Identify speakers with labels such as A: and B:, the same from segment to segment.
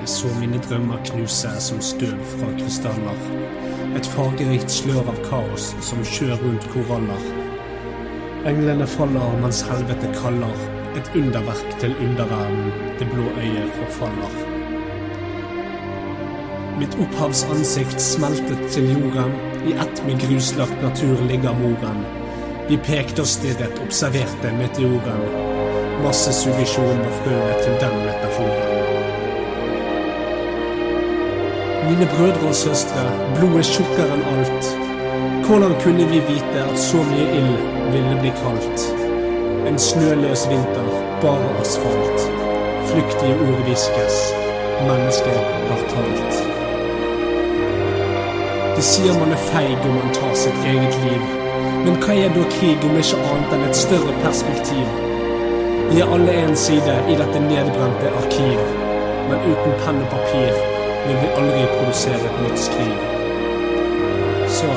A: Jeg så mine drømmer knuse som støv fra krystaller. Et fargerikt slør av kaos som skjør rundt koraller. Englene faller mens helvete kaller. Et underverk til underverdenen, det blå øyet forfaller. Mitt opphavs ansikt smeltet til jorden. I ett med gruslagt natur ligger moren. Vi pekte og stirret, observerte meteoren. Massesuggesjon var frøet til den metaforen. Mine brødre og søstre, blodet tjukkere enn alt. Hvordan kunne vi vite at så mye ild ville bli kaldt? En snøløs vinter, bare asfalt. Flyktige ord hviskes. Mennesket har talt. De sier man er feig om man tar sitt eget liv. Men hva er da krig om ikke annet enn et større perspektiv? Vi er alle én side i dette nedbrente arkiv, men uten penn og papir vil vi aldri produsere et nytt skriv. Så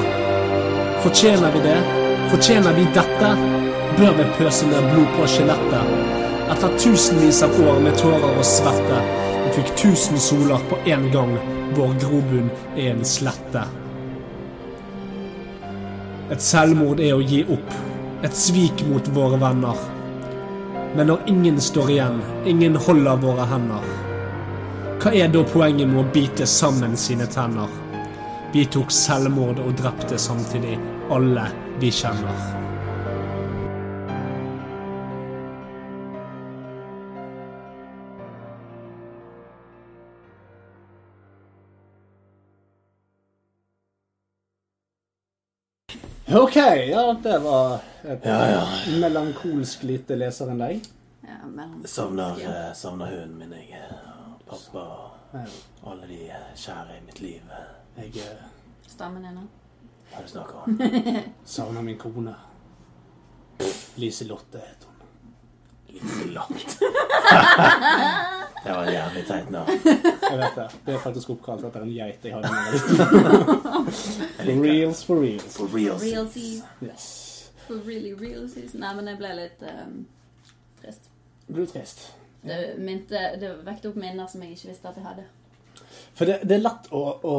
A: fortjener vi det? Fortjener vi dette? Bør vi pøse ned blod på skjelettet? Etter tusenvis av år med tårer og svette, vi fikk tusen soler på én gang. Vår grobunn er en slette. Et selvmord er å gi opp. Et svik mot våre venner. Men når ingen står igjen, ingen holder våre hender. Hva er da poenget med å bite sammen sine tenner? Vi tok selvmord og drepte samtidig alle vi kjenner.
B: OK, ja, det var et
C: Ja, ja.
B: melankolsk lite leserinnlegg.
D: Ja, men
C: Savner, eh, savner hunden min, jeg. eh, Og Pappa og alle de eh, kjære i mitt liv.
B: Jeg eh,
D: stammen er nå.
C: Hva er det du snakker om?
B: savner min kone. Liselotte heter hun.
C: Liselotte. det var en jævlig teit navn.
B: Jeg vet det. Det er faktisk oppkalt etter en geit jeg hadde med meg. For reals, for reals.
C: For real.
D: Realsies.
B: Yes.
D: For really realsies. Nei, men jeg ble litt ehm, trist.
B: Blir du trist?
D: Det, minte, det vekte opp minner som jeg ikke visste at jeg hadde.
B: For det, det er lett å, å,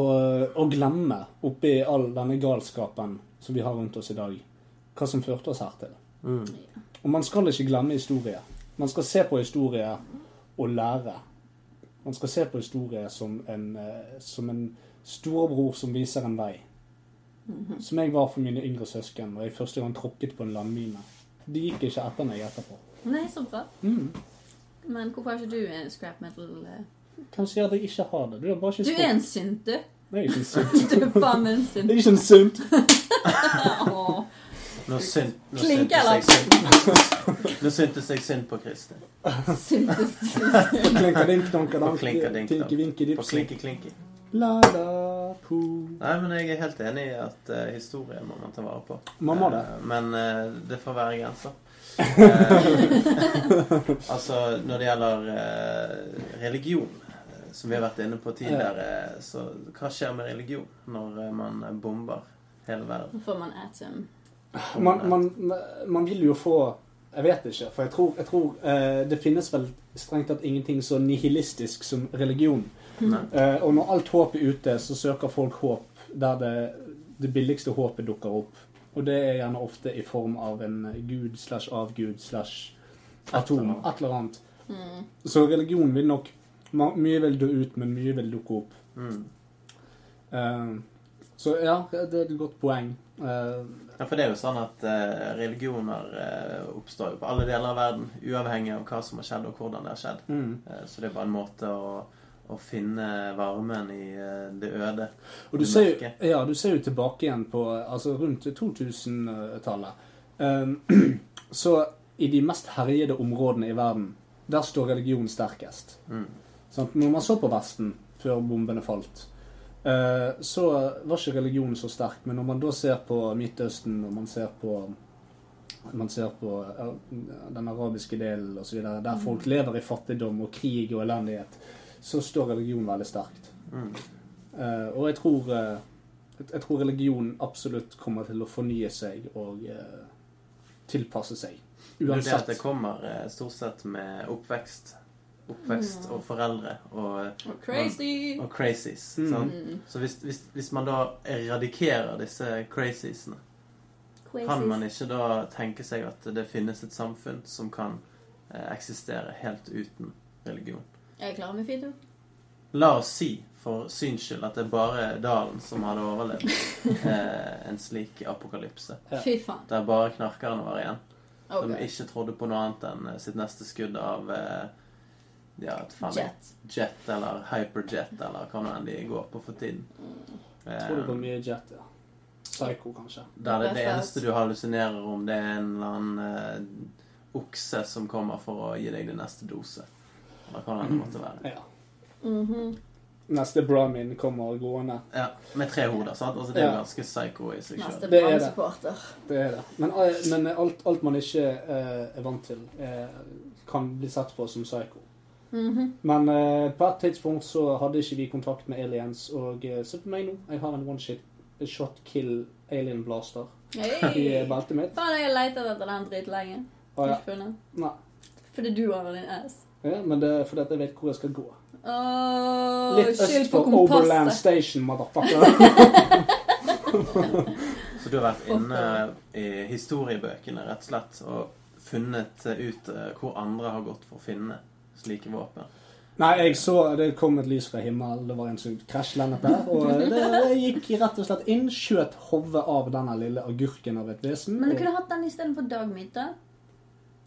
B: å glemme oppi all denne galskapen som vi har rundt oss i dag, hva som førte oss hertil.
C: Mm.
D: Ja.
B: Og man skal ikke glemme historie. Man skal se på historie og lære. Man skal se på historie som en, eh, som en storebror som viser en vei.
D: Mhm.
B: Som jeg var for mine yngre søsken da jeg første gang tråkket på en landmine. De gikk ikke etter meg etterpå.
D: Nei, så bra.
C: Mm.
D: Men hvorfor har ikke du en scrap metal eh?
B: Hvem sier at jeg ikke har det? Du er bare ikke
D: Du
B: stor.
D: er en synt, du.
B: Det er ikke en synd.
D: Du er faen meg en
B: Det
D: synt.
B: er ikke en synd.
D: Åh.
C: Nå, synd, nå,
D: Klink,
C: syntes jeg synd, nå syntes jeg synd på Kristin.
D: Syntes
C: På klinkadink. På
B: Klinkadink-dankadank.
C: klinke-klinke.
B: La da po.
C: Nei, men jeg er helt enig i at eh, historie må man ta vare på.
B: Man må det.
C: Eh, men eh, det får være grenser. Eh, altså, når det gjelder eh, religion, eh, som vi har vært inne på tidligere, eh, så hva skjer med religion når eh, man bomber hele verden?
D: Får man atom.
B: man, man, man vil jo få Jeg vet ikke, for jeg tror, jeg tror eh, det finnes vel strengt tatt ingenting så nihilistisk som religion.
C: Nei.
B: Eh, og når alt håp er ute, så søker folk håp der det, det billigste håpet dukker opp. Og det er gjerne ofte i form av en gud slash avgud slash atom. Et eller annet.
D: Mm.
B: Så religion vil nok ma- Mye vil dø ut, men mye vil dukke opp.
C: Mm.
B: Eh, så ja, det er et godt poeng. Eh,
C: Ja, for det er jo sånn at eh, religioner eh, oppstår jo på alle deler av verden, uavhengig av hva som har skjedd, og hvordan det har skjedd.
B: mm.
C: Eh, så det er bare en måte å, å finne varmen i eh, det øde.
B: Og du
C: Det
B: ser, jo,
C: mørke.
B: ja, du ser jo tilbake igjen på altså rundt 2000-tallet. Ehm, så i de mest herjede områdene i verden, der står religion sterkest.
C: Mm.
B: Sant? Når man så på Vesten før bombene falt, eh, så var ikke religionen så sterk. Men når man da ser på Midtøsten, og man ser på man ser på ja, den arabiske delen osv., der folk lever i fattigdom og krig og elendighet, så står religion veldig sterkt.
C: Mm.
B: Eh, og jeg tror, eh, jeg- jeg tror religion absolutt kommer til å fornye seg og eh, tilpasse seg.
C: Det er jo det at
B: Uansett.
C: det kommer eh, stort sett med oppvekst. oppvekst
D: Mm.
C: og foreldre og
D: Og crazy!
C: og crazies.
B: Mm.
C: Sant?
D: Mm.
C: Så hvis, hvis, hvis man da eradikerer disse craziesene, kan man ikke da tenke seg at det finnes et samfunn som kan eh, eksistere helt uten religion?
D: Jeg klarer meg fint, jo.
C: La oss si for syns skyld at det er bare Dalen som hadde overlevd eh, en slik apokalypse.
B: Ja.
D: Fy faen.
C: Der bare knarkerne var igjen. Som
D: Ok.
C: ikke trodde på noe annet enn eh, sitt neste skudd av eh, ja, et faen, jet.
D: Jet.
C: jet eller hyperjet eller hva nå enn de går på for tiden.
D: Mm.
B: Jeg tror det går
C: Eh,
B: mye jet, ja. Psycho, kanskje.
C: Der det, det
D: Blackout.
C: eneste du hallusinerer om, det er en eller annen eh, okse som kommer for å gi deg din neste dose. Eller hva det måtte være.
B: Ja.
D: Mhm.
B: Neste Brahmin kommer gående.
C: Ja, Med tre hoder, sant? Altså, det er jo
B: Ja.
C: ganske psycho i seg sjøl.
D: Neste
B: Det er det.
D: brannsupporter.
B: Det er det. Men, eh, men alt, alt man ikke eh, er vant til, eh, kan bli sett på som psycho.
D: Mhm.
B: Men eh, på et tidspunkt så hadde ikke vi kontakt med aliens, og eh, se på meg nå. Jeg har en one shit shot kill alien blaster i
D: Hey.
B: beltet mitt.
D: Faen, jeg har leita etter den dritlenge.
B: Og, ja.
D: Ikke funnet den.
B: Nei.
D: Fordi du har den i ass.
B: Ja, men det er fordi at jeg vet hvor jeg skal gå.
D: Åh,
B: Litt
D: skyld
B: øst
D: på
B: for Overland
D: kompasset.
B: Station, motherfucker.
C: Så du har vært inne i historiebøkene rett og slett og funnet eh, ut eh, hvor andre har gått for å finne slike våpen.
B: Nei, jeg så det kom et lys fra himmelen. Det var en som krasjlandet der. Og det, jeg gikk rett og slett inn, skjøt hodet av denne lille agurken av et vesen.
D: Men du
B: og
D: kunne hatt den istedenfor dagmiddag.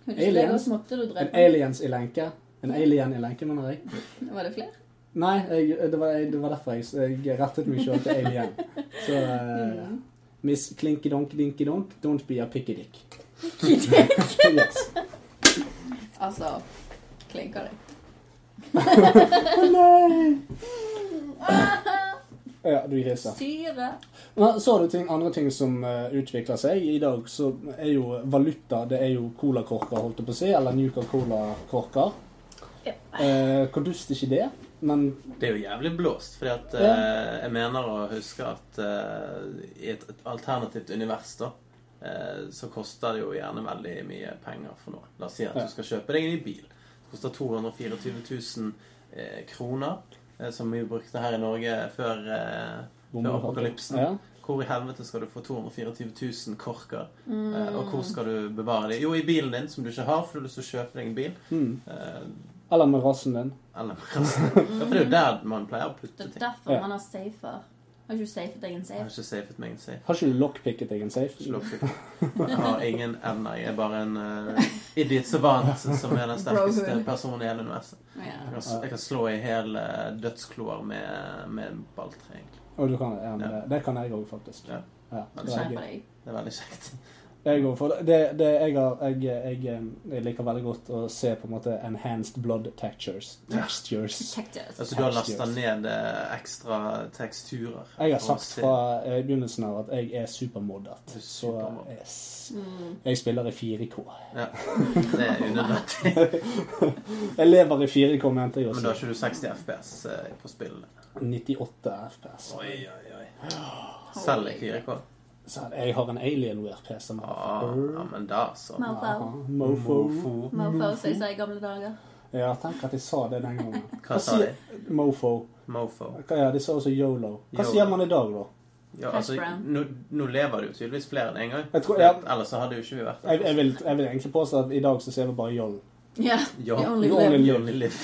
D: Kunne ikke
B: Aliens?
D: det gått måtte du
B: En
D: drepe den?
B: aliens i lenke. En alien i lenke, mener jeg.
D: Var det flere?
B: Nei, jeg, det, var, det var derfor jeg, jeg rettet meg selv til alien. Så eh,
D: Mhm.
B: Miss Klinkedonk-dinkedonk, don't be a pikkedick. yes.
D: Altså Klinker det.
B: Å nei! Ja, du griser.
D: Syre.
B: Men så er det ting, andre ting som eh, utvikler seg. I dag så er jo valuta det er jo colakorker, holdt jeg på å si. Eller Nuka-cola-korker.
D: Ja.
B: Eh, hvor dust er ikke det? Men
C: Det er jo jævlig blåst, fordi at eh, jeg mener å huske at eh, i et, et alternativt univers, da, eh, så koster det jo gjerne veldig mye penger for noe. La oss si at
B: Ja.
C: du skal kjøpe deg en ny bil. Det koster 224 000 eh, kroner, eh, som vi brukte her i Norge før, eh, før apokalypsen.
B: Ja.
C: Hvor i helvete skal du få 224 000 korker?
D: Mm.
C: Eh, og hvor skal du bevare dem? Jo, i bilen din, som du ikke har, for du har lyst til å kjøpe deg en bil.
B: Mm.
C: Eh,
B: Eller med rassen din.
C: eller Ja, For det er jo der man pleier å putte
D: Det er
C: ting.
D: derfor
B: Ja.
D: man har safer. Har ikke du safet deg en
C: Jeg har
D: safe?
C: ikke safet meg en safe.
B: Har ikke du lockpicket deg en safe?
C: Slå opp. Jeg har ingen evner. Jeg er bare en eh, idiot savant som er den sterkeste
D: Brohood.
C: personen i hele universet. Jeg
D: Ja.
C: kan, s- jeg kan slå i hel eh, dødskloer med, med balltre, egentlig.
B: Å, du kan, ja, men
C: Ja.
B: det, det kan jeg òg, faktisk.
C: Ja.
B: Ja, det er
D: Skjerp
B: gøy.
D: deg.
C: Det er veldig kjekt.
B: Jeg går for det. det, det jeg, har, jeg, jeg, eh, jeg liker veldig godt å se på en måte enhanced blood textures. textures.
D: Kjekt, yes.
C: Altså, du har lasta ned eh, ekstra teksturer.
B: Jeg har
C: for å
B: sagt
C: se-
B: fra eh, begynnelsen av at jeg er supermoddet.
C: Du er
B: Så
C: supermoddet.
B: yes.
D: Mm.
B: jeg spiller i 4K.
C: Ja. Det er unødvendig.
B: Jeg lever i 4K, mente jeg
C: Men
B: også.
C: da har ikke du 60 FPS eh, på spillet.
B: 98 FPS.
C: Oi, oi, oi. Selv i 4K.
B: Så jeg har en Alienware-PC.
C: Ah, ja, men da, så.
D: Mofo.
B: Mofo.
C: Mofo.
D: Mofo, som jeg sa i gamle dager.
B: Ja, tenk at jeg sa det den gangen.
C: Hva sa de?
B: Mofo.
C: Mofo.
B: Hva- Ja, de sa også yolo. Hva
C: Yolo.
B: sier man i dag, da?
C: Ja,
D: Hash
C: altså,
D: brown.
C: nå, nå lever det jo tydeligvis flere enn én gang.
B: Jeg tror- ja.
C: For Ellers så hadde jo ikke vi vært
B: Jeg, jeg, vil, jeg vil egentlig påstå at i dag så sier vi bare joll.
D: Ja.
C: Ja.
D: You only
B: You only
D: live.
B: live.
C: Johnny Liv.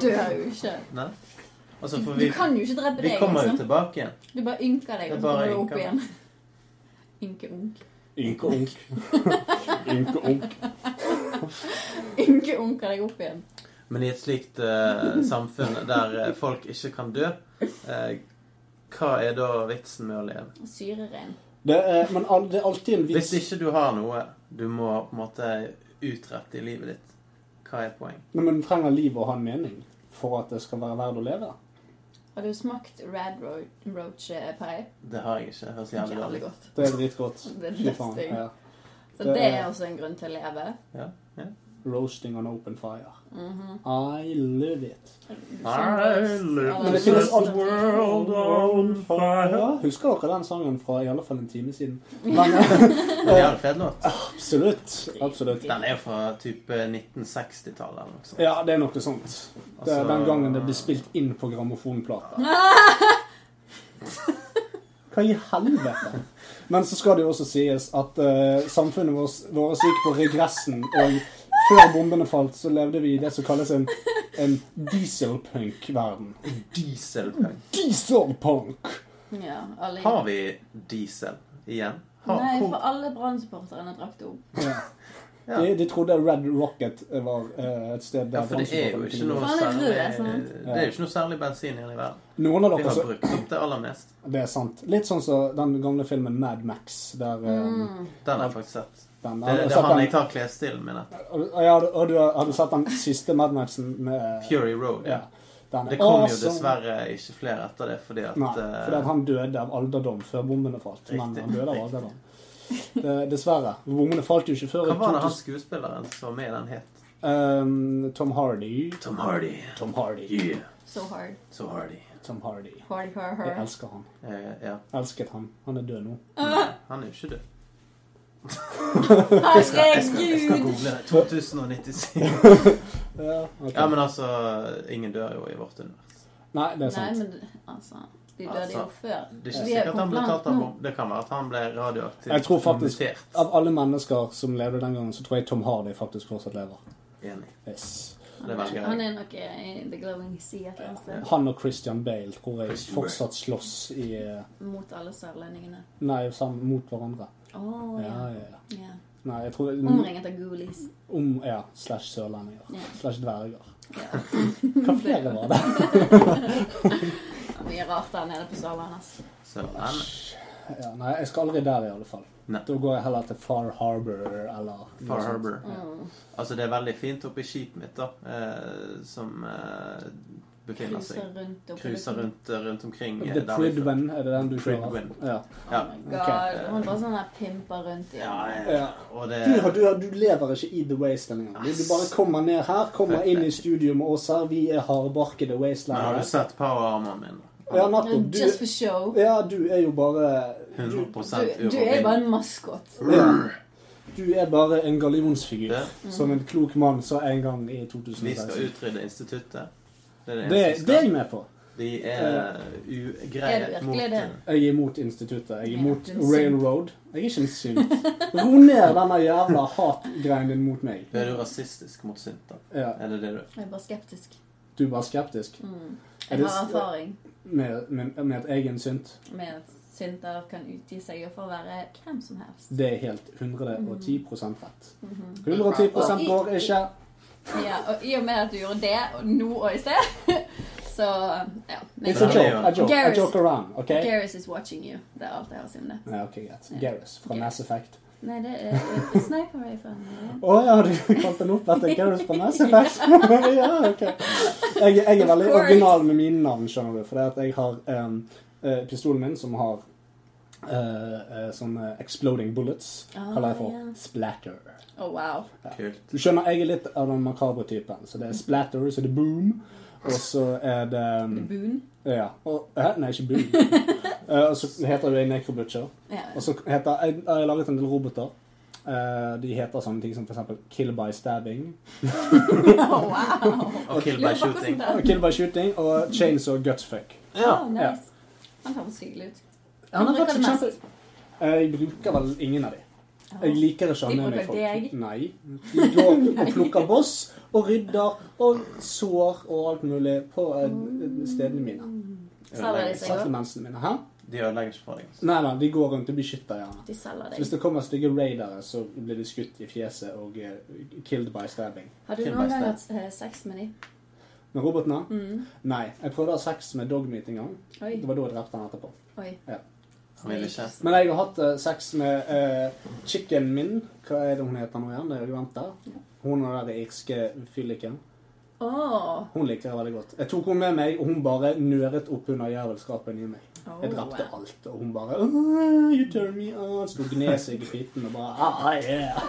D: Du dør jo ikke.
C: Nei? Altså, for
D: Du
C: vi,
D: kan jo ikke drepe
C: vi
D: deg,
C: kommer jo
D: liksom.
C: tilbake igjen.
D: Du bare ynker deg,
C: Jeg
D: og så
C: bare
D: kommer du opp
C: ynker.
D: igjen. Ynke-unk.
B: Ynke-unk. Ynke-unk.
D: Ynke-unker deg opp igjen.
C: Men i et slikt eh, samfunn der eh, folk ikke kan dø, eh, hva er da vitsen med å leve?
D: Syrerein.
B: Det er, men al- det er alltid en
C: Hvis
B: vits.
C: ikke du har noe du må på en måte utrette i livet ditt, hva er poeng?
B: Nei, men du trenger liv og ha en mening for at det skal være verdt å leve.
D: Har du smakt Rad Ro- Roach eh, Pie?
C: Det har jeg ikke. Det høres jævlig
D: Jævlig
C: dårlig ut.
D: godt.
B: Det er dritgodt.
D: Det er
B: Fy faen.
D: nesten.
B: Ja.
D: Så det er også en grunn til å leve.
C: Ja, ja.
B: Roasting on open fire.
D: Mhm.
B: I live it.
C: I
D: Ja,
C: live
D: det
C: to
D: finnes
C: set
B: alt-
C: the world on fire.
B: Ja, husker dere den sangen fra i alle fall en time siden? Men,
C: Det er en fet låt.
B: absolutt. Absolutt.
C: Den er jo fra type 1960-tallet eller noe sånt.
B: Ja, det er noe sånt. Det er
C: Altså-
B: den gangen det ble spilt inn på grammofonplater. Hva i helvete? Men så skal det jo også sies at eh, samfunnet vårt- vårt gikk på regressen, og før bombene falt, så levde vi i det som kalles en, en dieselpunk-verden.
C: Dieselpunk.
B: Dieselpunk!
D: Ja, alle
C: Har vi diesel igjen? Har,
D: Nei, for
C: hvor,
D: alle Brann-supporterne drakk det opp.
B: Ja.
C: Ja.
B: De, de trodde Red Rocket var eh, et sted der
C: ja, for det er jo
B: brannsupporterne
C: ikke
B: kunne
C: noe
D: Han er rød,
C: særlig
D: sant?
C: Det er jo ikke noe særlig bensin igjen i verden.
B: gå. Noen av
C: Vi
B: dere
C: har
B: så,
C: brukt opp det aller mest.
B: Det er sant. Litt sånn som den gamle filmen Mad Max, der eh,
D: Mm.
C: Den har jeg faktisk sett.
B: den,
C: Det,
B: har du
C: det
B: sett
C: er han
B: den-
C: jeg tar klesstilen min etter.
B: Og, og ja, og du, har du sett den siste Mad Maxen med
C: Fury Road.
B: Ja. Den er
C: Det kom jo
B: awesome.
C: dessverre ikke flere etter det, fordi at
B: Nei,
C: eh,
B: fordi at han døde av alderdom før bombene falt. Men
C: Riktig,
B: han døde av
C: riktig.
B: alderdom. Det, dessverre. Bombene falt jo ikke før i
C: Hva var det han
B: 2000.
C: skuespilleren som var med i den het?
B: Ehm, Tom Hardy.
C: Tom Hardy.
B: Tom Hardy.
C: Yeah.
D: So hard.
C: Tom Hardy.
B: Tom Hardy.
D: Hard, hard,
B: Jeg
D: hard.
B: elsker han.
C: Eh, ja.
B: Elsket han. Han er død nå.
C: Han er jo ikke død. Jeg skal, jeg skal
D: Herregud!
C: google det. 2097.
B: Ja, ok.
C: Ja, men altså Ingen dør jo i vårt univers.
B: Nei, det er
D: Nei,
B: sant.
D: men altså De døde jo
C: Altså.
D: før.
C: Det er
D: Vi
C: ikke
D: er
C: sikkert at han ble
D: kommet
C: tatt av
D: langt nå.
C: bom. Det kan være at han ble radioaktivt
B: Jeg tror faktisk-
C: mutert.
B: Av alle mennesker som levde den gangen, så tror jeg Tom Hardy faktisk fortsatt lever.
C: Enig.
B: Yes.
C: Det velger jeg.
D: Han er nok eh, i The Glowing Sea et eller annet sted.
B: Han og Christian Bale tror jeg
C: Christian Bale.
B: fortsatt slåss i eh,
D: Mot alle sørlendingene.
B: Nei, sammen mot hverandre.
D: Å,
B: Ja, Mm.
D: ja.
B: ja, ja.
D: ja.
B: Nei, jeg tror
D: Omringet av goolies.
B: Om, ja, slash sørlendinger.
D: Ja.
B: Slash dverger.
D: Ja.
B: Hva flere var det?
D: Mye rart der nede på Sørlandet. ass.
C: Så han
B: Ja, nei, jeg skal aldri der i alle fall.
C: Nei.
B: Da går jeg heller til Far Harbor eller noe
C: Far
B: sånt.
C: Harbor.
D: Mm.
C: Altså, det er veldig fint oppi skipet mitt, da, eh, som eh, befinner
B: altså
D: Cruiser
C: seg
D: rundt oppe i
C: Cruiser
D: luften.
C: rundt, rundt omkring. eh,
B: The
C: der vi-
B: Pridwin, er det den du kjører?
C: Pridwin.
B: Ja.
C: Ja.
D: Oh my god.
B: Ok.
D: Han bare sånn her pimper rundt i
C: Ja,
D: den.
C: ja. Og det
B: Du, har- du, har- du lever ikke i The Wasteland engang. Du, du bare kommer ned her, kommer inn i studio med oss her. Vi er hardbarkede
C: Men har du
B: wastelandere.
C: sett powerarmen min? da?
B: Ja,
D: No,
B: nettopp. Du,
D: Just for show.
B: ja, du er jo bare du,
C: 100
D: Du, du er
C: uovervinnelig.
D: bare en maskot.
C: Brr.
B: du er bare en gallionsfigur.
C: Det-
D: Mm.
B: Som en klok mann sa en gang i
C: Vi skal
B: 2016.
C: utrydde instituttet. Det er det
B: Det, det er
C: eneste vi skal.
B: jeg med på.
C: De er ugreie
D: Er du
C: mot
D: virkelig det?
B: Jeg er imot instituttet. Jeg er imot
D: Ja, du er en synd.
B: railroad. Jeg er ikke en synd. Ro ned denne jævla hatgreien din mot meg.
C: Er du rasistisk mot synt, da?
B: Ja,
C: Er det det du er?
D: Jeg er bare skeptisk.
B: du er bare skeptisk
D: Mm.
B: Er
D: Jeg
B: det
D: har
B: s-
D: erfaring
B: med, med, med at jeg er en synt.
D: med at synder kan utgi seg for å være hvem som helst.
B: Det er helt 110 rett.
D: Mhm.
B: 110 går ikke.
D: Ja, og I og med at du gjorde det og nå og i sted, så ja.
B: It's a
C: Men-
B: joke. I joke, I
D: Garrus.
B: joke around. OK?
D: Garris is watching you. Det er alt jeg har å si om det.
B: Ja, ok, greit. Garrus fra Mass Effect.
D: Nei, det er, det er sniper rifle.
B: Å ja, du kalte den opp etter Garrus fra Mass Effect? ja, ok. Jeg, jeg er veldig
D: Of course.
B: original med mine navn, skjønner du. For det at jeg har em, eh, pistolen min som har eh, eh, sånne exploding bullets.
D: Ah,
B: Kaller jeg for
D: ja.
B: splatter.
D: Oh, wow.
C: Kult.
B: Du skjønner, jeg er litt av den makabre typen. Så det er splatter, så det er boom. Og så er det
C: Mm.
B: em,
D: Boon.
B: Ja. Og, hæ? Nei, ikke boom. Eh, og så heter jo jeg Necrobutcher.
D: Ja.
B: Og så heter jeg, jeg har laget en del roboter. Eh, de heter sånne ting som for eksempel Kill by stabbing.
D: Oh, wow.
C: Og kill by
D: Lurer på
C: shooting.
D: hvordan det
B: Og
D: er.
B: Kill by shooting og Chainsaw Gutsfuck.
C: Ja.
D: Oh, nice. Han høres hyggelig ut.
B: Han er
D: Bruker
B: faktisk
D: du
B: kjempe... Eh, Jeg bruker vel ingen av de.
D: Ja.
B: Jeg liker ikke å ha
D: De
B: med meg
D: bruker
B: folk.
D: deg?
B: Nei. De går og plukker boss og rydder og sår og alt mulig på eh, stedene
D: Mm.
B: mine.
D: Selger de seg òg?
B: Settlementsene mine. Hæ?
C: De ødelegger ikke for deg. altså.
B: Nei, nei, de går rundt og beskytter gjerne.
D: De selger
B: Så hvis
D: deg.
B: det kommer stygge raidere, så blir de skutt i fjeset og eh, killed by stabbing.
D: Har du
C: Kill by
D: noen gang
C: stab.
D: hatt eh, sex med de?
B: Men robotene?
D: Mm.
B: Nei. Jeg prøvde å ha sex med Dogmeat en gang.
D: Oi.
B: Det var da jeg drepte han etterpå.
D: Oi.
B: Ja.
C: Han vil ikke.
B: Men jeg har hatt eh, sex med uh, chicken min. Hva er det hun heter nå igjen? Det er jo jenta. Hun og den der irske fylliken.
D: Åh.
B: Hun liker jeg veldig godt. Jeg tok henne med meg, og hun bare nøret opp under jævelskapen i meg.
D: Oh,
B: Jeg drepte alt, og hun bare «Ah, You turn me on. Så hun gned seg i skitten og bare ah, yeah.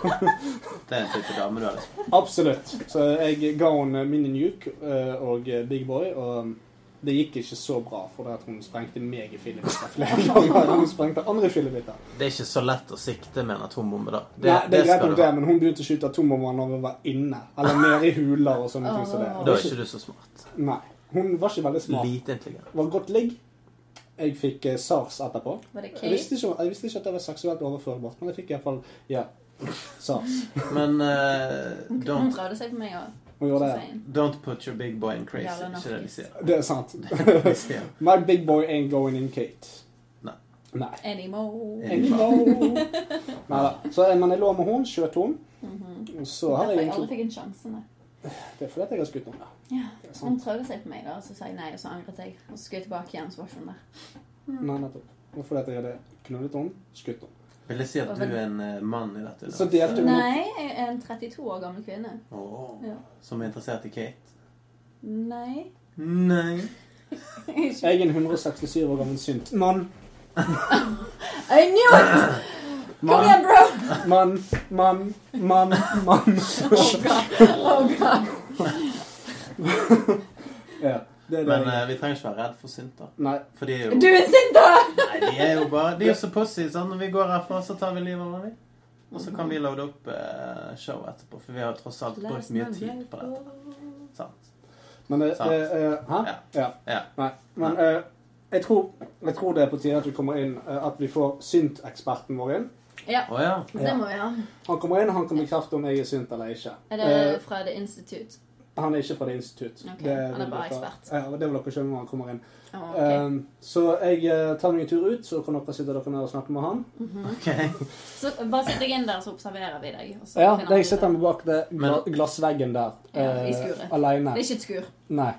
C: Det er en type dame du har lyst på.
B: Absolutt. Så jeg ga henne Mini Nuke eh, og Big Boy, og det gikk ikke så bra, for det at hun sprengte meg i fillebiter flere ganger. Hun sprengte andre fillebiter.
C: Det er ikke så lett å sikte med en atombombe, da. Det,
B: Nei, det er greit
C: skal
B: nok
C: du
B: det,
C: ha.
B: men hun begynte å skyte atombomber når hun var inne. Eller nede i huler og sånne ting som det.
D: Åh.
C: Da er ikke du så smart.
B: Nei. Hun var ikke veldig smart.
C: Lite intelligent.
B: Det var godt ligg. Jeg fikk eh, sars etterpå.
D: Var det
B: Jeg visste,
D: Kate?
B: ikke, jeg visste ikke at det var seksuelt overførbart, men jeg fikk iallfall ja, sars.
C: Men eh,
D: Hun
C: don't,
D: prøvde seg på meg òg.
B: Hun gjorde det.
C: don't put your big boy in crazy.
D: Jævla
C: Ikke det de
D: narkis.
C: sier.
B: Det er sant.
C: De sier.
B: My big boy ain't going in Kate.
C: Nei.
B: Nei.
D: Anymore.
C: Ja.
B: Anymore. Neida. Så, eh, men jeg lå med hun, skjøt hun.
D: Mhm.
B: Og så har
D: Derfor
B: jeg
D: jeg aldri
B: egentlig
D: fikk en sjanse. nei.
B: Det er fordi at jeg har skutt henne.
D: Ja.
B: Det er
D: Hun
B: sant.
D: prøvde seg på meg, da, og så sa jeg nei, og så angret jeg. Og så skulle jeg tilbake igjen, så var ikke hun der. Mm.
B: Nei, nettopp. Det er fordi at jeg hadde knullet henne, skutt henne.
C: Vil jeg si at du er en eh, mann i dette?
B: Så delte hun-
D: Nei, jeg er en 32 år gammel kvinne.
C: Åh,
D: Ja.
C: som er interessert i Kate?
D: Nei.
C: Nei.
D: Ikke-
B: Jeg er en 167 år gammel synt. Mann,
D: I knew it! Kom
B: mann,
D: igjen, bro!
B: mann, mann, mann, mann.
D: Oh god. Oh god.
B: Ja, det er det.
C: Men
B: jeg-
C: eh, vi trenger ikke være redd for synter.
B: Nei.
C: For de er jo
D: Du er sint, da!
C: Nei, de er jo bare De er jo så pussy, sant. Når vi går herfra, så tar vi livet av hverandre. Og så kan vi loade opp eh, show etterpå, for vi har tross alt brukt mye tid på dette. Sant?
B: Men eh,
C: Sant.
B: eh, eh, Hæ?
C: Ja.
B: Ja.
C: Ja.
B: Nei. Men eh, jeg, tror, jeg tror det er på tide at vi kommer inn eh, At vi får synteksperten vår inn.
D: Ja,
C: Å ja.
D: det må vi ha.
B: Han kommer inn, og han kan bekrefte om jeg er synt eller ikke.
D: Er
C: Eh,
D: det fra The Institute?
B: Eh, han er ikke fra det institutt.
D: Ok,
B: Det
D: han er
B: vil
D: bare
B: dere-
D: ekspert.
B: Ja, det vil dere skjønne når han kommer inn.
D: Oh,
B: Eh, så jeg eh, tar meg en tur ut, så kan dere sitte dere ned og snakke med han.
C: Ok.
D: Mhm. Så bare sitter jeg inn der, så observerer vi deg. Og så
B: Ja,
D: finner
B: jeg
D: vi
B: sitter
D: ut.
B: med bak det gla
C: Men-
B: glassveggen der.
D: Ja, i
B: eh,
D: skuret.
B: alene.
D: Det er ikke et skur.
B: Nei.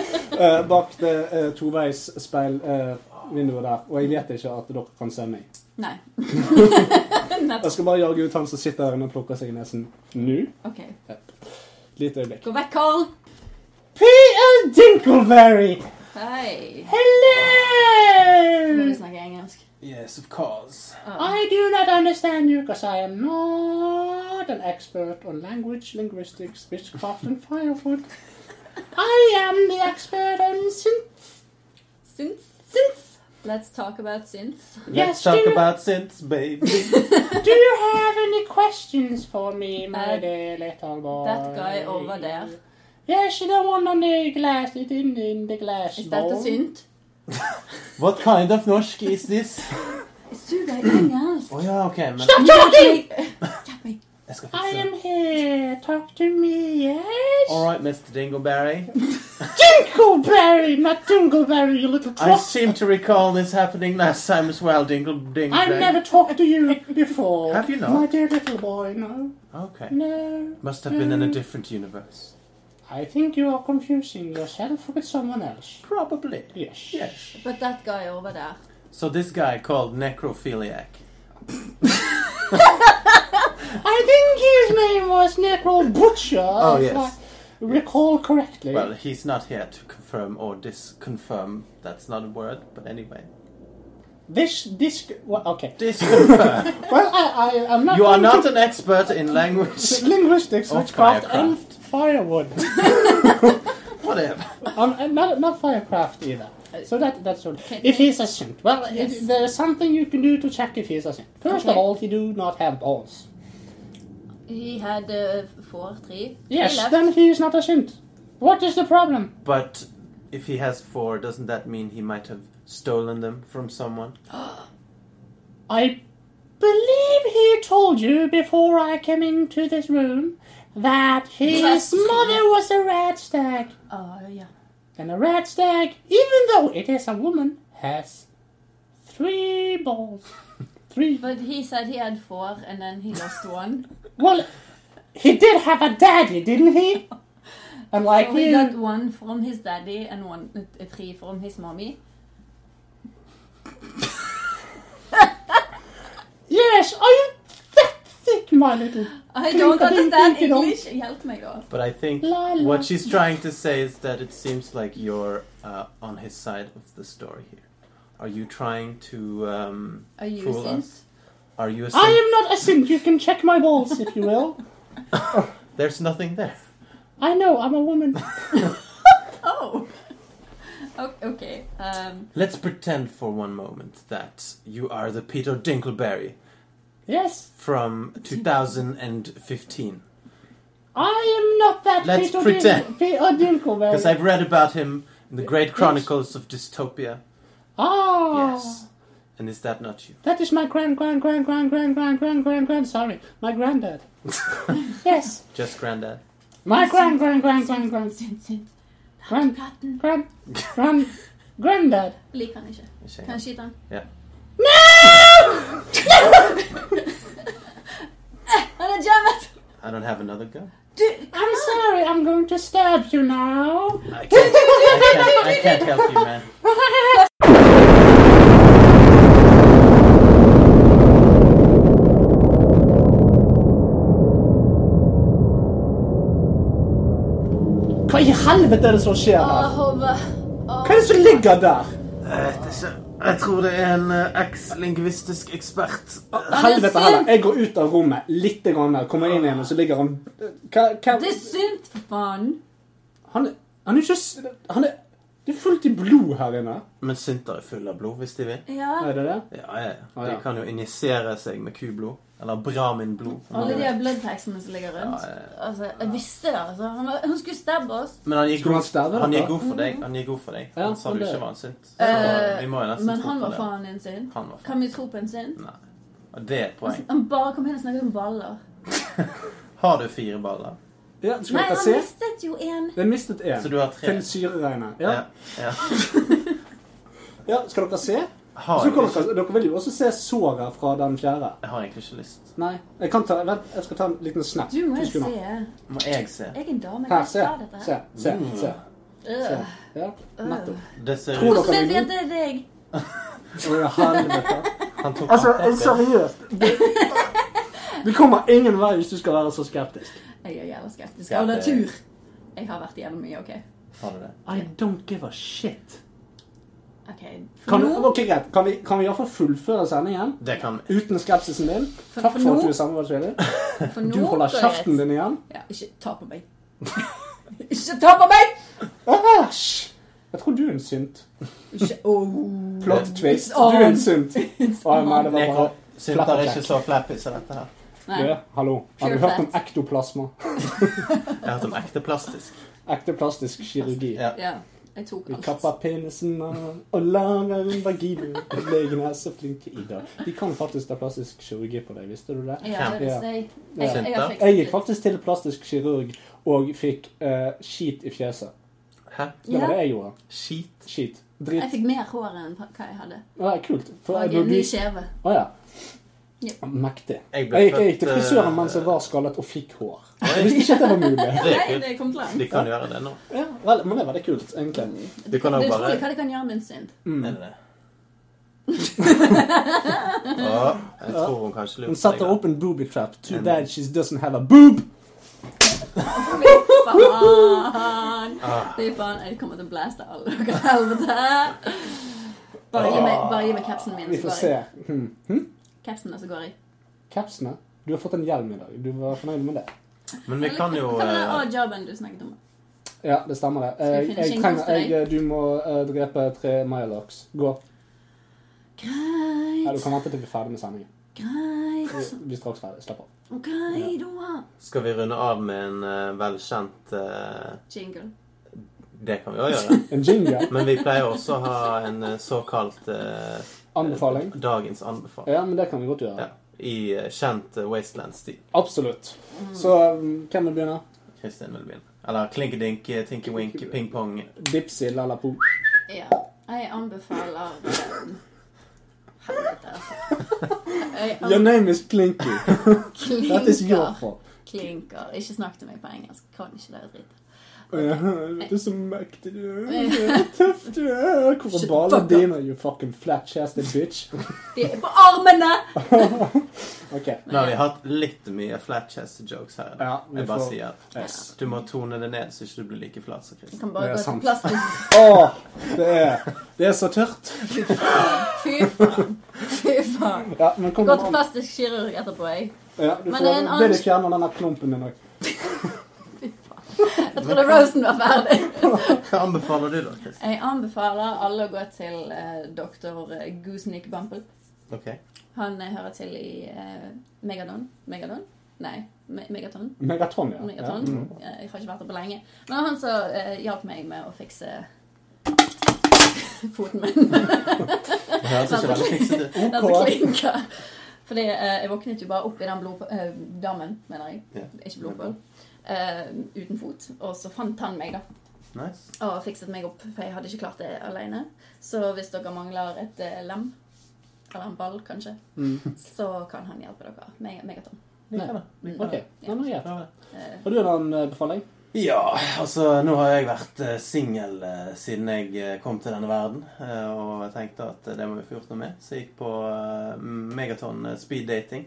B: Eh, bak det uh, toveis speilvinduet der. Og jeg vet ikke at dere kan se meg.
D: Nei.
B: Jeg skal bare jage ut han som sitter her inne og plukker seg i nesen nå.
D: OK.
B: Lite øyeblikk.
D: Gå vekk, Carl.
B: P.L. Dinkleberry!
D: Hei. Må
B: Hello!
D: du snakke engelsk? Ah,
C: Yes, of course.
D: Å,
B: I do not understand you because I am not an expert on language, linguistics, witchcraft and firewood. I am the expert on synth.
D: Synth. Synth. Let's talk about synth.
C: Let's
B: Yes,
C: talk
B: do-
C: about synths, baby.
B: Do you have any questions for me, my
D: Uh,
B: dear little boy?
D: that guy over there.
B: Yes, the one on the glass, it in, in the glass
D: Is that a
B: bowl.
D: synt?
C: What kind of norsk is this? Oh,
D: Sug deg engelsk.
C: Å ja, OK, men
B: Stop talking!
D: Hjelp meg.
C: jeg
B: I
C: skal fikse
B: am
C: det.
B: here. Talk to me, yes?
C: All right, Mr. Dingleberry.
B: Dingleberry, not Dingleberry, you little
C: I
B: twat.
C: seem to recall this happening last time as well, Dingle Dingleberry.
B: I've never talked to you before.
C: Have you not?
B: My dear little boy, no.
C: Okay.
B: No.
C: Must have been in a
B: Mm.
C: different universe.
B: I think you are confusing yourself with someone else.
C: Probably.
B: Yes.
C: Yes.
D: But that guy over there.
C: So this guy called necrophiliac.
B: I think his name was Necro Butcher,
C: Oh,
B: if
C: yes.
B: I recall correctly.
C: Well, he's not here to confirm or disconfirm. That's not a word, but anyway.
B: This, this, well, okay.
C: Disconfirm.
B: Well, I, I, I'm not.
C: you are
B: going
C: not
B: to
C: an expert in language.
B: linguistics,
C: Or
B: witchcraft, and
C: firecraft.
B: firewood.
C: Whatever.
B: Um, uh, not, not firecraft either. So that that's all.
D: Uh, Okay.
B: If he's a synth, well,
D: Yes.
B: it, there's something you can do to check if he's a synth. First of
D: Okay.
B: all, he do not have balls.
D: He had uh, four, three.
B: Yes,
D: He left.
B: then he is not a synth. What is the problem?
C: But if he has four, doesn't that mean he might have stolen them from someone?
B: I believe he told you before I came into this room that his
D: Yes.
B: mother was a rat stag,
D: Å, Ah, ja.
B: and a rat stag, even though it is a woman, has three balls. Three.
D: But he said he had four, and then he lost one.
B: Well, he did have a daddy, didn't he? And like
D: So he
B: he,
D: got one from his daddy and one, uh, three from his mommy.
B: yes, are you that thick,
E: my little
D: I don't
E: Tenk at den
D: understand
E: tenker om-
D: English. Hjelp meg, da.
C: But I think
E: la, la.
C: what she's trying to say is that it seems like you're uh, on his side of the story here. Are you trying to um,
D: Are you
C: fool
D: sint?
C: us? Are you a
E: I
C: simp?
E: am not a simp. You can check my balls if you will.
C: There's nothing there.
E: I know, I'm a woman.
D: Oh. O- OK. Um,
C: Let's pretend for one moment that you are the Peter Dinkleberry
E: Yes,
C: from 2015.
E: I am not that
C: Let's
E: Peter
C: pretend.
E: Dink- Peter Dinkleberry.
C: Because I've read about him in the Great Chronicles of Dystopia.
E: Ah,
C: Yes. And is that not you?
E: that is my grand, grand, grand, grand, grand, grand, grand, grand, grand. Sorry, my granddad. yes,
C: Just Grandad?
E: my grand, grand, grand, grand, grand,
D: sint, sint.
E: grand,
D: Katten
E: grand, grand, granddad.
D: liker han ikke.
C: Ikke
D: Kan
C: engang.
D: skyte han.
C: Ja.
D: Han er jammet!
C: I don't have another gun.
D: Du,
E: I'm sorry, I'm going to stab you now.
C: I can't, I can't, I can't help you, man.
B: Hva i helvete er det som skjer
D: Å,
B: her?
D: hodet. Å.
B: Hva er det som ligger der?
C: Eh, Jeg tror det er en eh, eks-lingvistisk ekspert.
B: Helvete
D: synd.
B: heller. Jeg går ut av rommet litt, grann her, kommer inn igjen, og så ligger han Hva, hva?
D: Det er sunt, for faen.
B: Han, han er ikke s- Han er Det er fullt i blod her inne.
C: Men synter er full av blod, hvis de vil.
D: Ja.
B: Er det det?
C: Ja, ja, ja.
B: Ah,
C: De
B: ja.
C: kan jo injisere seg med kublod. Eller braminblod.
D: Alle de her bloodtaxene som ligger rundt.
C: Ja, ja, ja.
D: Altså, jeg visste det, altså. Han, var, hun skulle stabbe oss.
C: Men han gikk
B: Skulle han
C: god,
B: stabbe deg,
C: han gikk
B: da?
C: god for deg. Han gikk god for deg.
B: Ja,
C: Han sa
B: han
C: du
B: ble-
C: ikke var en synt. Så
D: Mm. Eh,
C: vi må jo nesten
D: Men
C: tro
D: han
C: på
D: var
C: det.
D: faen en synd.
C: Han var
D: Kan Altså- vi tro på en synd?
C: Nei. Og det er et poeng.
D: Han bare kom inn og snakket om baller.
C: Har du fire baller?
B: Ja, skal
D: Nei,
B: dere
D: han
B: se?
D: mistet jo en.
B: Den mistet én.
C: Så du har tre?
B: Til syreregnet. Ja.
C: ja.
B: ja, skal dere se?
C: Har
B: Så
C: du
B: kan
C: ikke?
B: dere, dere vil jo også se såret fra den fjerde.
C: Jeg har egentlig ikke lyst.
B: Nei. Jeg kan ta, vent, jeg skal ta en liten snap.
D: Du må
B: To
D: jo se.
B: sekunder.
D: Jeg
C: Må jeg se?
D: er en dame.
B: Her,
D: Jeg
B: se.
D: kan ikke ta
B: Se,
D: dette.
B: se, se. se.
D: Øh.
B: Ja, nettopp.
C: Det ser
B: Tror
C: ut
B: dere-
D: Hvordan vet vi at det er deg?
B: Å, ja, helvete.
C: Han tok
B: Altså,
C: anteppet.
B: seriøst. det- Vi kommer ingen vei hvis du skal være så skeptisk.
D: Jeg er jævla skeptisk.
C: Ja,
D: Av
C: det-
D: natur. Jeg har vært igjennom mye, OK?
C: Har du det?
B: I don't give a shit.
D: Ok, For
B: Kan,
D: nå,
B: ok, greit. Kan vi, kan vi iallfall fullføre sendingen
C: Det kan vi.
B: uten skepsisen din?
D: For-
B: Takk
D: for
B: for
D: nå-
B: at du er samarbeidsvillig.
D: for nå
B: Du holder
D: går jeg-
B: kjeften din igjen.
D: Ja, ikke ta på meg. ikke ta på meg!
B: Æsj! Jeg tror du er en synt.
D: Ikke oh.
B: Plot twist. Du er en synt. Å, nei, det var bare
C: Neko synter er ikke så flappy som dette her.
D: Nei.
B: Du, Hallo. Har
D: Pure
B: du hørt om
D: fat.
B: ektoplasma?
C: Jeg har hørt om ekte plastisk.
B: Ektoplastisk kirurgi.
C: Ja.
D: Ja, jeg tok
B: Vi
D: alt.
B: kapper penisen av og lager en vagina. Legene er så flinke i dag. De kan faktisk ta plastisk kirurgi på deg, visste du det?
D: Ja, det
B: Ja.
D: visste jeg.
B: Ja.
D: Jeg, jeg, har fikset
B: Jeg gikk
D: det.
B: faktisk til plastisk kirurg og fikk eh, skit i fjeset.
C: Hæ?
B: Det var det
D: Ja.
B: jeg gjorde.
C: Skit?
B: Skit.
D: Jeg
B: Drit.
D: fikk mer hår enn hva jeg hadde.
B: Ja, kult. For
D: Og
B: jeg
D: en ny
B: ble
D: kjeve.
B: Å ja.
D: Ja.
B: Mektig.
C: Jeg ble
B: Jeg gikk, jeg gikk til
C: født,
B: frisøren
C: eh,
B: mens jeg var skallet og fikk hår. Jeg
C: Oi,
B: visste ikke at det var mulig.
C: det er
D: Nei,
C: kult.
D: det kom til
C: De
D: han.
C: kan gjøre det nå.
B: Ja, vel, men det var det kult, egentlig.
C: Du kan
D: Det
C: jo
D: er
C: bare
D: utrolig hva de kan gjøre med en synd.
B: Mm.
C: Er det det? Å, jeg tror hun kanskje
B: Hun
C: lurte
B: setter
C: da.
B: opp en booby trap.
C: Mm.
B: Too bad she doesn't have a boob.
D: Fy faen!
C: Ah.
D: Fy faen, jeg kommer til å blaste alle dere helvete. Bare gi meg, bare gi meg capsen min,
B: Vi
D: så
B: får
D: går
B: se.
D: jeg.
B: Hmm.
D: Capsen, og så går jeg.
B: Capsene. Du har fått en hjelm i dag. Du var fornøyd med det?
C: Men vi kan jo
D: Hva var den
C: eh,
D: odd-jobben du snakket om?
B: Ja, det stemmer det.
D: vi
B: Jeg,
D: finne
B: jeg
D: skinnkost
B: trenger,
D: til
B: jeg, du må eh, drepe tre Myalox. Gå. Ja, du
D: Greit,
B: kan vente til vi er ferdig med sendingen. Vi,
D: greit,
B: vi er straks ferdig. Slapp av.
D: ok da.
C: Skal vi runde av med en eh, velkjent eh,
D: Jingle.
C: Det kan vi òg gjøre.
B: En jingle.
C: Men vi pleier også å ha en eh, såkalt eh,
B: Anbefaling.
C: Dagens anbefaling.
B: Ja, men det kan vi godt gjøre.
C: Ja. I eh, kjent eh, Wasteland-stil.
B: Absolutt. Så um, hvem vil begynne?
C: Kristin vil begynne. Eller Klinkedink, Tinky-Wink, Ping-Pong.
B: Dipsy Lalapo.
D: Ja. Jeg anbefaler um, Helvete, altså. Jeg
B: Your name is Klinky. That is your
D: anbefaler
B: fault.
D: klinker. Ikke snakk til meg på engelsk. Kan ikke det dritet.
B: Vet du så mektig du er, hvor tøff du er, hvor er ballene dine, you fucking flat-chested bitch.
D: De er på armene!
B: Ok,
C: Nå har vi hatt litt mye flat chest jokes her.
B: ja, vi
C: Jeg bare
B: får...
C: sier
B: Yes.
C: at du må tone det ned, så ikke du blir like flat som
D: Jeg
C: Chris.
D: kan
B: Det
D: bare
B: er
D: gå til
B: sant.
D: plastisk.
B: Åh, det er, det er så tørt.
D: Fy faen. Fy faen.
B: Ja, men kom
D: Gå til
B: an.
D: plastisk kirurg etterpå, jeg.
B: Ja, du
D: Men
B: får,
D: det er en
B: vil
D: annen-
B: du fjerne denne klumpen din også?
D: Jeg trodde Rosen var ferdig.
C: Hva anbefaler du, da, Chris?
D: Jeg anbefaler alle å gå til eh, doktor Goosenik Bumpel.
C: Ok.
D: Han eh, hører til i eh, Megadon. Megadon? Nei, Me Megaton.
B: Megaton, ja.
D: Megaton.
B: Ja. Mm.
D: Eh, Jeg har ikke vært der på lenge. Men det var han som eh, hjalp meg med å fikse foten min.
C: Det høres ikke veldig fikset ut.
B: Mm.
D: Den som klinker. Fordi eh, jeg våknet jo bare opp i den blod, eh, dammen, mener jeg.
C: Ja.
D: Ikke blodpøl. Eh, uten fot. Og så fant han meg, da.
C: Nice.
D: Og fikset meg opp, for jeg hadde ikke klart det alene. Så hvis dere mangler et eh, lem, eller en ball kanskje,
B: Mm.
D: så kan han hjelpe dere. Meg Megaton.
C: Liker det.
D: Mm.
B: Ok,
D: Ja.
B: ja, nå er jeg.
C: Bra det.
D: Eh,
B: Har du en annen eh, befaling?
C: Ja, altså nå har jeg vært eh, singel eh, siden jeg eh, kom til denne verden. eh, Og jeg tenkte at eh, det må vi få gjort noe med. Så jeg gikk på eh, Megaton eh, speed dating.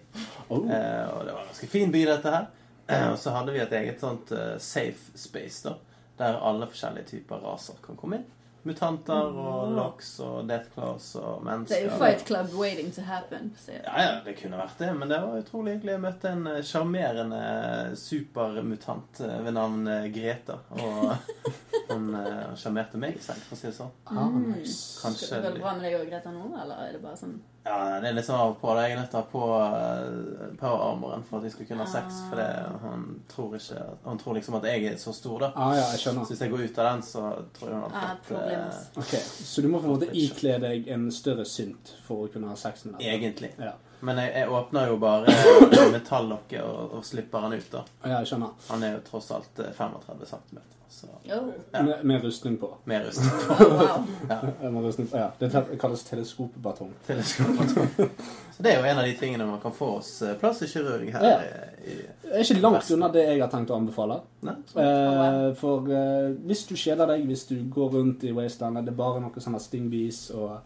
B: Oh.
C: Eh, Og det var en ganske fin by, dette her. Eh, Og så hadde vi et eget sånt eh, safe space, da. Der alle forskjellige typer raser kan komme inn. Mutanter og lox og death claws og
D: Mm. Det
C: mennesker.
D: er jo Fight Club waiting to happen. Så.
C: Ja, ja, det kunne vært det, men det var utrolig hyggelig. Jeg møtte en eh, sjarmerende supermutant eh, ved navn eh, Greta. Og hun eh, sjarmerte meg selv, for å si det sånn.
B: Ah,
D: Mm.
B: nice.
C: Kanskje
D: Går det
C: litt-
D: bra med deg og Greta nå, eller er det bare sånn
C: Ja, det er litt sånn av og på. da. Jeg er nødt til å ha på eh, power-armoren for at vi skal kunne ha sex. For det, hun, tror ikke, at- hun tror liksom at jeg er så stor, da.
B: Ah, ja, jeg skjønner.
C: Så hvis jeg går ut av den, så tror jeg hun
D: ah,
C: har fått
D: problem,
C: eh,
D: ass.
B: Ok, så du må på en måte ikle deg en større synt for å kunne ha sex med den?
C: Egentlig.
B: Ja.
C: Men jeg, jeg åpner jo bare metallokket og, og slipper han ut, da.
B: Ja, jeg skjønner.
C: Han er jo tross alt eh, 35 cm, så
D: Oh,
C: Ja.
B: Med, med rustning på.
C: mer rust.
D: wow.
B: Eh, Med rustning på. Ja, det tel- kalles teleskopbatong.
C: teleskopet. Så det er jo en av de tingene man kan få oss eh, plass i kirurg her.
B: Ja.
C: eh, I,
B: Det er ikke langt unna det jeg har tenkt å anbefale.
C: Nei.
B: Eh, for eh, hvis du kjeder deg, hvis du går rundt i wasteland, er det bare noe sånne stingbees og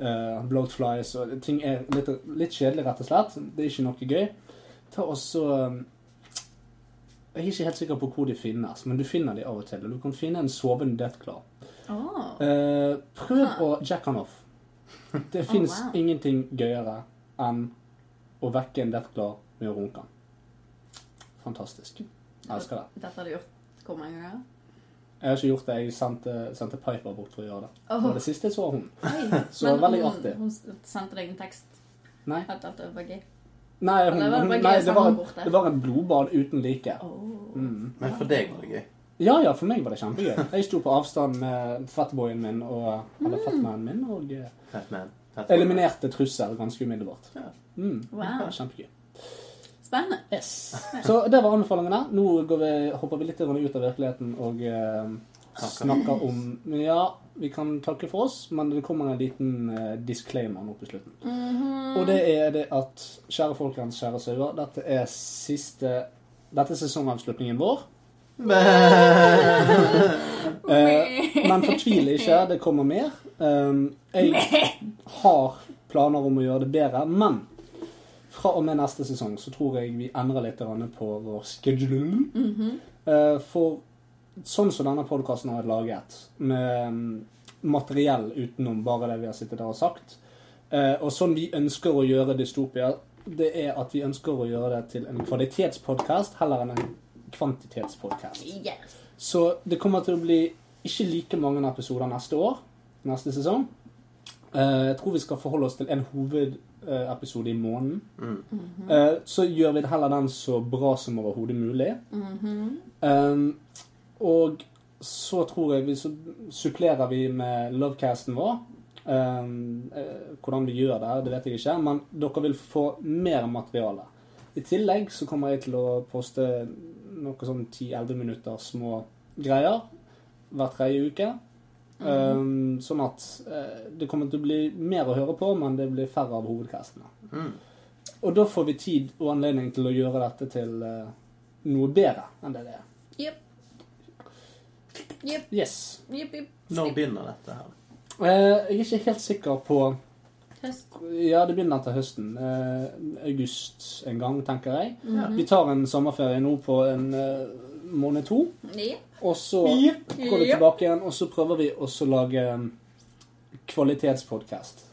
B: eh, bloatflies og ting er litt, litt kjedelig, rett og slett. Det er ikke noe gøy. Ta også eh, Jeg er ikke helt sikker på hvor de finnes, men du finner de av og til. Og du kan finne en sovende death claw.
D: Åh.
B: Eh, prøv å jack han off. Det
D: Ah. Oh,
B: fins
D: wow.
B: ingenting gøyere enn å vekke en deathglar med å runke han. Fantastisk. Jeg elsker det.
D: Dette har du gjort hvor mange ganger?
B: Jeg har ikke gjort det. Jeg sendte, sendte Piper bort for å gjøre det. Det
D: Åh,
B: var det siste jeg så hun.
D: hei.
B: Så veldig artig.
D: Hun, hun sendte deg en tekst
B: Nei,
D: at dette var gøy.
B: nei, hun,
D: Det var
B: hun,
D: bare gøy
B: nei det,
D: å sende
B: var,
D: han bort der.
B: det var en blodbad uten like.
D: Åh.
B: Mm.
C: Men for deg var det gøy.
B: Ja ja, for meg var det kjempegøy. Jeg sto på avstand med fatboyen min og eller
D: Mm.
B: fatmannen min og eh,
C: Fett man. Fett man.
B: eliminerte trussel ganske umiddelbart.
C: Ja.
B: Mm.
D: Wow.
B: Kjempegøy.
D: Spennende.
B: Så det var anbefalingene. Nå går vi, hopper vi litt grann ut av virkeligheten og eh,
C: Takker.
B: snakker om men Ja, vi kan takke for oss, men det kommer en liten eh, disclaimer nå på slutten.
D: Mm-hmm.
B: Og det er det at kjære folkens, kjære sauer, dette er siste Dette er sesongavslutningen vår. Eh, men fortvil ikke, det kommer mer. Um, jeg har planer om å gjøre det bedre, men fra og med neste sesong så tror jeg vi endrer litt grann på vår schedule.
D: Mm-hmm.
B: Eh, for sånn som denne podkasten har vært laget, med mm, materiell utenom bare det vi har sittet der og sagt, eh, og sånn vi ønsker å gjøre Dystopia, det er at vi ønsker å gjøre det til en kvalitetspodkast heller enn en kvantitetspodkast.
D: Yes.
B: Så det kommer til å bli ikke like mange episoder neste år, neste sesong. Eh, Jeg tror vi skal forholde oss til en hovedepisode i måneden.
C: Mm.
D: Mm-hmm.
B: Eh, Så gjør vi heller den så bra som overhodet mulig.
D: Mhm.
B: Um, og så tror jeg vi så supplerer vi med Lovecasten vår. Um, eh, hvordan vi gjør det, det vet jeg ikke, men dere vil få mer materiale. I tillegg så kommer jeg til å poste noe sånn 10-11 minutter små greier hver tredje uke. Um, sånn at eh, det kommer til å bli mer å høre på, men det blir færre av hovedcastene.
C: Mm.
B: Og da får vi tid og anledning til å gjøre dette til eh, noe bedre enn det det er.
D: Jep. Jepp,
B: Yes.
D: jepp, jepp.
C: Når begynner dette her?
B: Eh, jeg er ikke helt sikker på
D: Høst.
B: Ja, det begynner til høsten. Eh, august en gang, tenker jeg.
D: Mhm.
B: Vi tar en sommerferie nå på en eh, måned to,
D: Jepp.
B: og så
E: Jepp.
B: går vi
D: Jepp.
B: tilbake igjen, og så prøver vi også å lage um, kvalitetspodkast.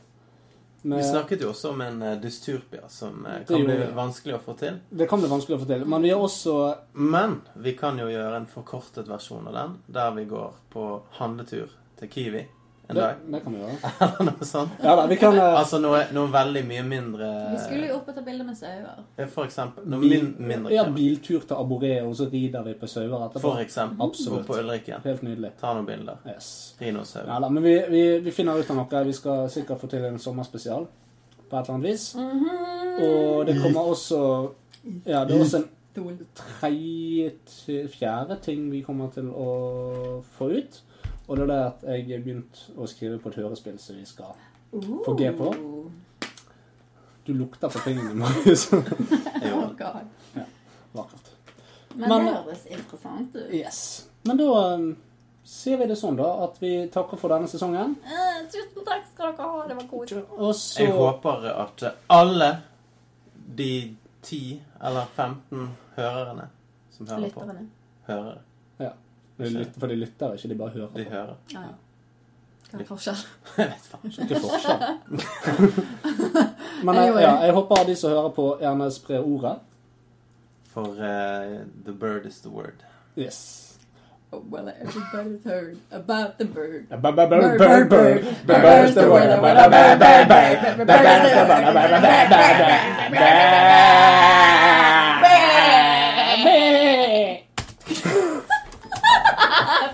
B: Men
C: Vi snakket jo også om en eh, dystyrpia som eh,
B: Det
C: kan
B: gjorde
C: bli
B: vi.
C: vanskelig å få til.
B: eh, det kan bli vanskelig å få til. Men vi har også
C: Men vi kan jo gjøre en forkortet versjon av den, der vi går på handletur til Kiwi en
B: det,
C: dag.
B: det kan vi gjøre.
C: Eller noe sånt.
B: Ja da, vi kan eh,
C: Altså noe, noe veldig mye mindre eh,
D: Vi skulle jo opp og ta bilder med sauer.
C: For eksempel. Noe
B: bil,
C: min, mindre
B: ja,
C: krem.
B: biltur til Aboré, og så rider vi på sauer etterpå.
C: For eksempel.
B: Absolutt.
C: Gå på Ulrikken.
B: Helt nydelig.
C: Ta noen bilder.
B: Yes.
C: Rinosaur.
B: Ja da, men vi, vi, vi finner ut av noe. Vi skal sikkert få til en sommerspesial på et eller annet vis.
D: Mm-hmm.
B: Og det kommer også Ja, det er også en tredje, til- fjerde ting vi kommer til å få ut. Og det er det at jeg har begynt å skrive på et hørespill som vi skal Få G på. Du lukter på tingene, Marius.
C: Jo.
D: Oh God.
B: Vakkert.
D: Men,
B: Men-
D: det høres interessant ut.
B: Yes. Men da um, ser vi det sånn, da, at vi takker for denne sesongen.
D: Eh, tusen takk skal dere ha, det var koselig.
B: Og så
C: Jeg håper at alle de 10 eller 15 hørerne som hører på,
D: Lytterne.
C: hører.
B: De lyt- For de lytter ikke, de bare hører.
C: De hører.
D: Ja, ja. Hva er forskjellen?
C: Jeg vet faen.
B: Ikke forskjell. Men jeg,
D: Anyway.
B: ja, jeg håper de som hører på, gjerne sprer ordet.
C: For eh, the bird is the word.
B: Yes.
D: Oh, well, everybody's heard about the bird.
B: Bird, bird,
D: bird, bird.
B: The bird is the word. The bird, bird, bird, bird. The bird is the word. The bird, bird, bird, bird.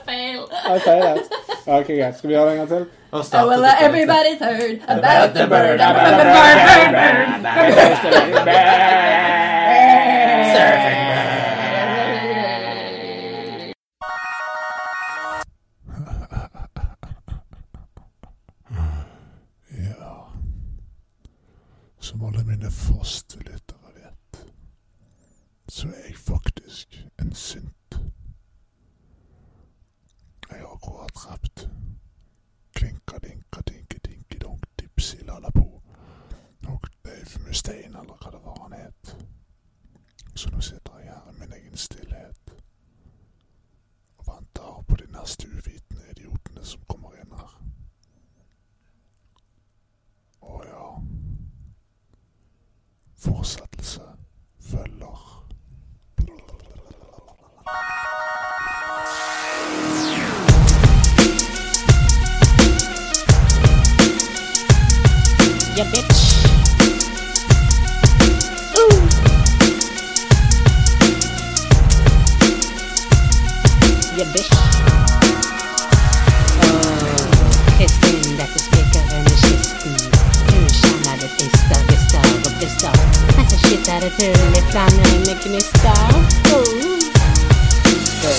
D: Feil.
B: Jeg sier det. Ok, greit. Skal vi gjøre det en gang til?
C: Og
D: Oh, well,
C: det på nytt.
D: everybody's heard about the bird.
F: Ja. Som alle mine faste lyttere vet, så er jeg faktisk en synt. Jeg har akkurat rappet klinka-dinka-dinke-dinke-donk-dipsi-lalapo og Dave Mustaine, eller hva det var han het. Så nå sitter jeg her i min egen stillhet og venter på de neste uvitende idiotene som kommer inn her. Å ja. Fortsettelse følger.
E: Yeah, bitch. Ooh. Yeah, bitch. Åh, Kristin, dette spriker under kisten. Du kjenner det frister, rister og brister. Men så skyter det hull i planer med gnister. Ooh.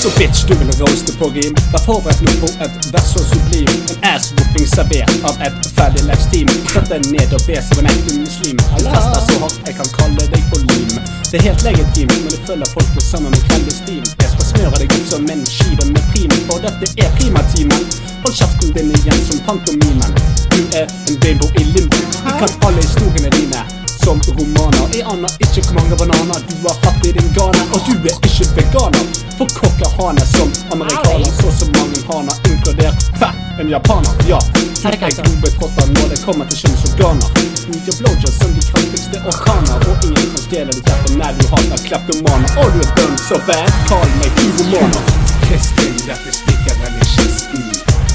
A: Så bitch, du vil roaste på rim. Vær forberedt nå på et vers så sublim. En ass-whooping servert av et ferdig leksteam. Sett deg ned og be som en ekte muslim. Du fester så hardt jeg kan kalle deg på lim. Det er helt legitimt, men det følger folk på sammen med klandestin. Jeg skal smøre deg opp som en skive med prim, for dette er primatimen. Hold kjeften din igjen som pantomimen. Du er en bimbo i limbo. Du kan alle historiene dine som romaner. Jeg aner ikke hvor mange bananer du har hatt i din gane. Og du er ikke veganer, for kokker hane som amerikaner. Så som mange haner, inkludert ha, en japaner. Ja, du er globetrotter når det kommer til kjønnsorganer. Du gir blowjobs som de kraftigste orkaner. Og ingen kan stjele ditt hjerte når du hater kleptomaner. Og du er dømt så vær, kall meg pyromaner. Kristin, dette stikker vel i kisten.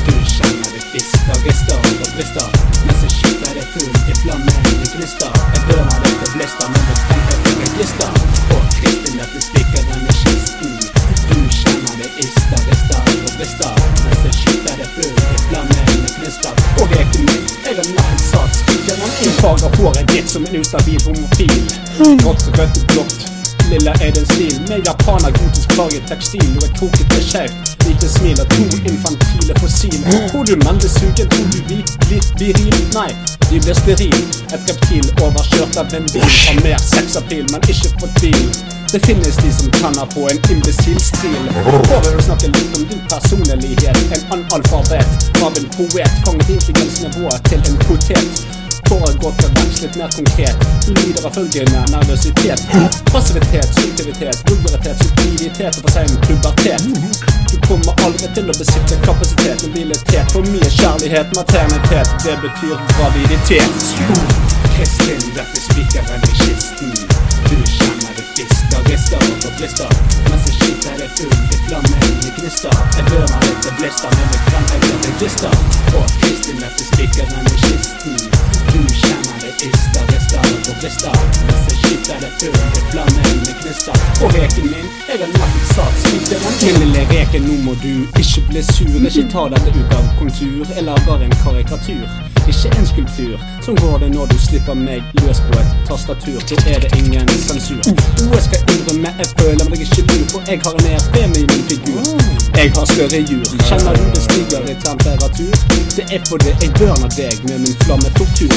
A: Du kjenner det fister, rister og brister. Mens jeg skyter det full i flammende gnister. Jeg dømmer deg til blister, men du tenker på meg glister. Og Kristin, dette stikker vel i kisten. Du kjenner det ister, rister og brister. Mens jeg skyter det full i flammende gnister. Og jeg er ikke min, jeg er nær satt spiker. Men jeg farger håret ditt som en ustabil homofil. Grått, rødt, blått. Lilla er din stil med japaner, gotisk farget tekstil og et krokete skjevt lite smil og to infantile fossil. Hvor
B: podium, men det suger til du blir, blir viril. Nei, de blir steril. Et reptil overkjørt av en bil. Har mer sexappeal, men ikke fortvil. Det finnes de som tenner på en imbesil stil. Håper du snakker litt om din personlighet. En analfabet av en poet. Fanget intelligensnivået til en potet. Foregått og vekslet mer konkret. Du lider av følgende nervøsitet. Passivitet, subjektivitet, vulgaritet, subtilitet og for sein pubertet. Du kommer aldri til å besitte kapasitet, mobilitet, for mye kjærlighet, maternitet. Det betyr graviditet. Kristin, dette spikeren i kisten. Du kjenner det fister, rister og forblister. Mens jeg skyter det full i flammende gnister. Jeg bøner litt til blister, men jeg fremhever det glister. Og Kristin, dette spikeren i kisten. Du kjenner det ister, rister og forblister. Mens jeg skyter det full i flammende gnister. Og reken min, jeg har nettopp satt spikeren inn. Lille reke, nå må du ikke bli sur. Ikke ta dette ut av kontur. Jeg lager en karikatur, ikke en skulptur. Sånn går det når du slipper meg løs på et tastatur. Da er det ingen sensur. Jo, jeg skal innrømme, jeg føler meg ikke lur, for jeg har en EFB i min figur. Jeg har større jur. Kjenner du det stiger i temperatur? Det er fordi jeg børner deg med min flammetortur.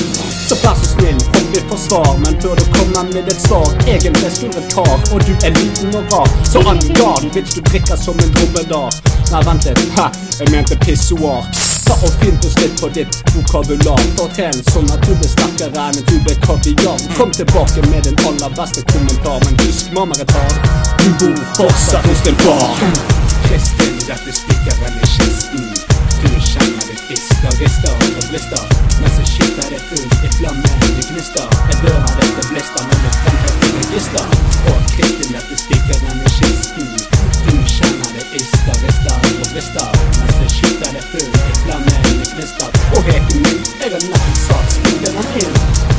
B: Så vær så snill, hopp i forsvar, men før du kommer med et svar, egentlig skulle et kar, og du er liten og rar. Så angar du bitch, du drikker som en dromedar. Nei, vent litt, hæ, jeg mente pissoar. Ta og fint oss litt på ditt vokabular. Og tren sånn at du blir sterkere enn en tube kaviar. Kom tilbake med din aller beste kommentar, men husk mammaretar. Du bor fortsatt hos din far. Kristin, dette spikeren i kisten. Du kjenner det fisker, rister og blister. Mens jeg skyter det fullt i flammer, det gnister. Jeg bører dette blister, men det fremhever det gister. Og Kristin, dette spikeren i kisten. Du kjenner det ister, rister og brister. Mens jeg skyter det fullt i flammer, det gnister. Og reken min, jeg har nettopp satt spikeren inn.